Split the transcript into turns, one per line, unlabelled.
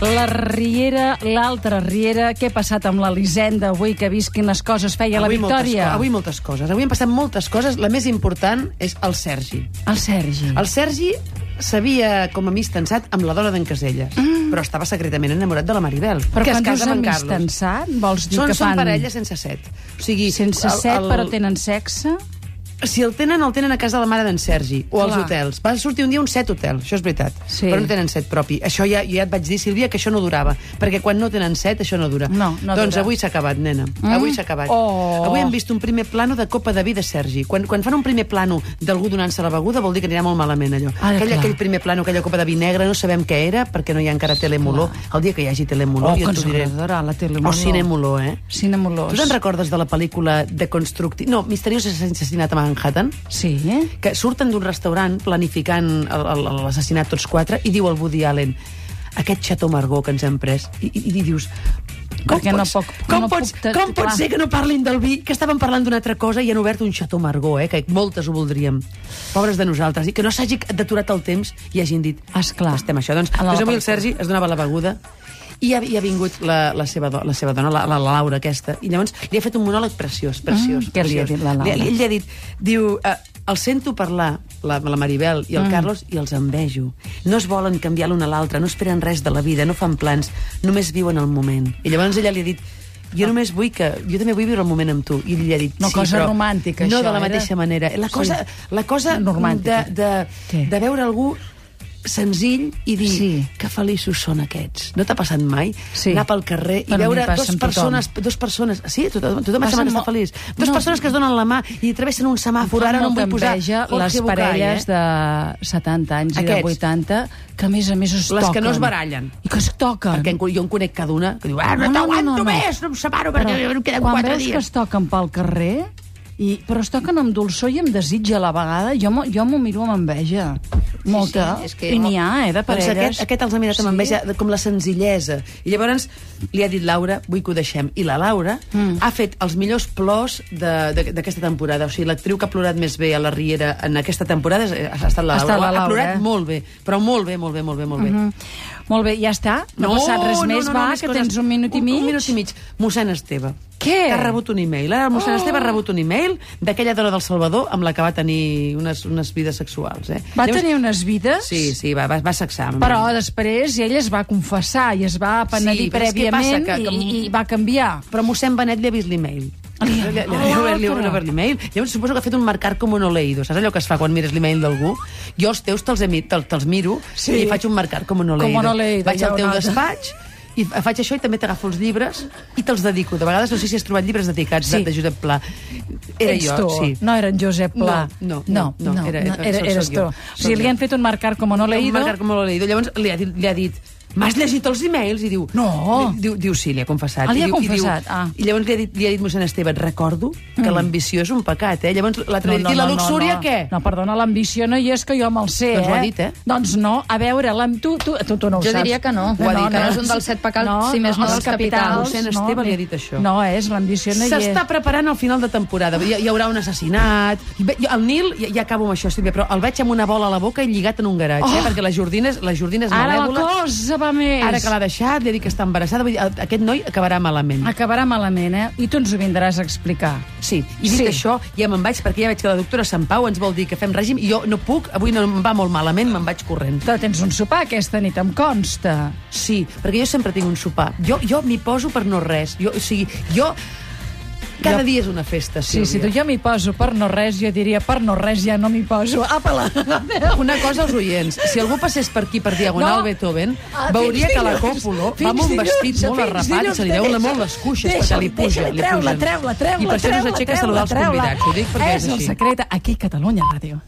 La Riera, l'altra Riera, què ha passat amb l'Elisenda avui que ha vist quines coses feia
avui
la
moltes,
Victòria?
co- avui moltes coses. Avui han passat moltes coses. La més important és el Sergi.
El Sergi.
El Sergi s'havia com a amic tensat amb la dona d'en Caselles, mm. però estava secretament enamorat de la Maribel,
Però
que es
quan dius
casa amb en
amics
Carlos.
tensat, vols dir
Són,
que fan...
són parella sense set. O sigui,
sense
el-
set,
el-
però tenen sexe?
Si el tenen, el tenen a casa de la mare d'en Sergi, o als
Clar.
hotels. Va sortir un dia un set hotel, això és veritat,
Sí.
però no tenen set propi. Això ja, ja et vaig dir, Sílvia, que això no durava, perquè quan no tenen set, això no dura.
No, no
doncs
dura.
avui s'ha acabat, nena. Mm. Avui s'ha acabat.
Oh.
Avui hem vist un primer plano de copa de vi de Sergi. Quan, quan fan un primer plano d'algú donant-se la beguda, vol dir que anirà molt malament, allò.
Ah,
aquell,
clar.
aquell primer plano, aquella copa de vi negra, no sabem què era, perquè no hi ha encara telemoló. El dia que hi hagi telemoló,
Oh,
jo
que
t'ho
ens
diré.
agradarà, la telemoló.
O cinemoló, eh?
Cinemolós.
Tu te'n recordes de la pel·lícula de Constructi... No, Misteriós assassinat a Manhattan?
Sí, eh?
Que surten d'un restaurant planificant el- el- l'assassinat tots quatre i diu al Woody Allen aquest xató Margó que ens hem pres i, i, i dius com
Perquè no
pots,
puc-
com,
no
pots,
puc te-
com pot
clar.
ser que no parlin del vi? Que estaven parlant d'una altra cosa i han obert un xató Margó, eh, que moltes ho voldríem. Pobres de nosaltres. I que no s'hagi deturat el temps i hagin dit...
Esclar.
Estem això. Doncs,
A la
doncs avui el
pel·lícula.
Sergi es donava la beguda i ha, i ha vingut la, la, seva do, la seva dona, la, la Laura aquesta, i llavors li ha fet un monòleg preciós, preciós.
Mm, què li ha
preciós.
dit la Laura?
Li, ell li ha dit, diu, eh, el sento parlar, la, la Maribel i el mm. Carlos, i els envejo. No es volen canviar l'un a l'altre, no esperen res de la vida, no fan plans, només viuen el moment. I llavors ella li ha dit, jo només vull que... Jo també vull viure el moment amb tu. I ell li ha dit,
Una
sí,
cosa
però
romàntica, això,
no de la
era?
mateixa manera. La cosa,
Sí.
la cosa de,
Romàntica.
de,
Què?
de veure algú senzill i dir sí.
Sí.
que feliços són aquests. No t'ha passat mai?
Sí.
Anar pel carrer i
Però a mi
veure
passa
dues
amb tothom.
persones, dues persones... Sí, tothom, tothom
Passa
sembla que està
molt-
feliç. Dues
No.
persones que es donen la mà i travessen un semàfor. Ara no em vull posar
les
Jorge Bucay,
parelles
eh?
de 70 anys
Aquests.
i de 80 que a més a més es
Les
toquen.
que no es barallen.
I que es toquen.
Perquè en- jo en conec cada una que diu ah, no, t'aguanto més, no em separo perquè
Però
em queden
quan
quatre
veus
dies.
que es toquen pel carrer, i, però es toquen amb dolçor i amb desig a la vegada, jo, m'ho- jo m'ho miro amb enveja. Molta.
és que
I n'hi
mo-
ha, eh, de parelles.
Doncs aquest, aquest els ha mirat amb enveja, de- com la senzillesa. I llavors li ha dit Laura, vull que ho deixem. I la Laura mm. ha fet els millors plors de- de- d'aquesta temporada. O sigui, l'actriu que ha plorat més bé a la Riera en aquesta temporada és- ha estat la
Ha
Laura.
estat la
Ha
Laura,
plorat
eh?
molt bé, però molt bé, molt bé, molt bé, molt bé. Mm -hmm.
Molt bé, ja està. No, ha passat res més, va, que tens un minut i mig.
Un, minut i mig. Mossèn Esteve.
Què?
Que ha rebut un e-mail. Ara el mossèn oh. Esteve ha rebut un e-mail d'aquella dona del Salvador amb la que va tenir unes, unes vides sexuals. Eh?
Va tenir unes vides?
Sí, sí, va, va, va sexar. amb
Però
ell.
després ella es va confessar i es va penedir
Sí, però és que
prèviament
passa que-
i, i va canviar.
però mossèn Benet li ha vist l'e-mail. Li ha- li ha- li
Ah,
ha obert- li ha
clar.
obert l'e-mail. Llavors suposo que ha fet un marcar com no leído. Saps allò que es fa quan mires l'e-mail d'algú? Jo els teus te'ls he mi- te'l- te'ls miro
Sí.
i faig un marcar com no
Com
leído.
no leído,
Vaig
ja
al
ho
teu
noto.
despatx i fa- faig això i també t'agafo els llibres i te'ls dedico. De vegades no sé si has trobat llibres dedicats
Sí.
de, de Josep Pla. Era
Ets
jo,
tu.
sí.
No era en Josep Pla.
No, no, no, no,
era,
era-
no, era,
sóc-
eres
sóc
tu.
jo,
O
sóc
sigui, li
jo.
han fet un marcar com no
Un
leído.
marcar com no leído. Llavors li ha dit, li ha dit M'has llegit els e-mails? I diu...
No.
Li, diu, diu sí, li ha confessat.
Ah, li ha
I diu,
confessat,
I, diu,
ah. Mm.
I llavors li ha dit, li ha dit mossèn Esteve, et recordo que l'ambició és un pecat, eh? Llavors l'altre no, no, I la luxúria,
no, no.
què?
No, perdona, l'ambició no hi és que jo me'l sé,
Doncs
eh?
ho ha dit, eh?
Doncs no, a veure, la, tu, tu, tu, tu no ho
Jo
saps.
diria que no. Ho ha dit, que no és un dels set pecats, si més no,
els
dels capitals.
Mossèn Esteve li ha dit això.
No, és, l'ambició no hi és.
S'està preparant al final de temporada. Hi, hi haurà un assassinat... I ve- jo- El Nil, ja, ja acabo amb això, Sílvia, però el veig amb una bola a la boca i lligat en un garatge, eh? perquè la Jordina és, la Jordina
Oh!
és
Ara la
malèvola.
cosa va més.
Ara que l'ha deixat, li ha dit que està embarassada. Vull dir, el- aquest noi acabarà malament.
Acabarà malament, eh? I tu ens ho vindràs a explicar.
Sí, i dit
Sí.
sí. això, ja me'n vaig, perquè ja veig que la doctora Sant Pau ens vol dir que fem règim, i jo no puc, avui no em va molt malament, me'n vaig corrent.
Tu tens un sopar aquesta nit, em consta.
Sí, perquè jo sempre tinc un sopar. Jo, jo m'hi poso per no res. Jo, o sigui, jo...
Jo-
Cada jo... dia és una festa,
Sí,
Sílvia.
si tu jo m'hi poso per no res, jo diria per no res ja no m'hi poso. Apa-la!
Una cosa als oients, si algú passés per aquí per Diagonal
No.
no. Beethoven,
Ah,
veuria
fins
que la
dilluns,
Còpolo
fins
va amb un vestit
dilluns,
molt
fins
arrapat i
dilluns,
se li veuen
deixa-li,
molt les cuixes,
deixa-li,
perquè li puja,
deixa-li,
li
treu-la,
pugen.
treu-la, treu-la,
I per això no
treu-la,
s'aixeca a
treu-la,
saludar els
treu-la.
convidats, ho dic perquè és
És el
així.
secret aquí a Catalunya Ràdio.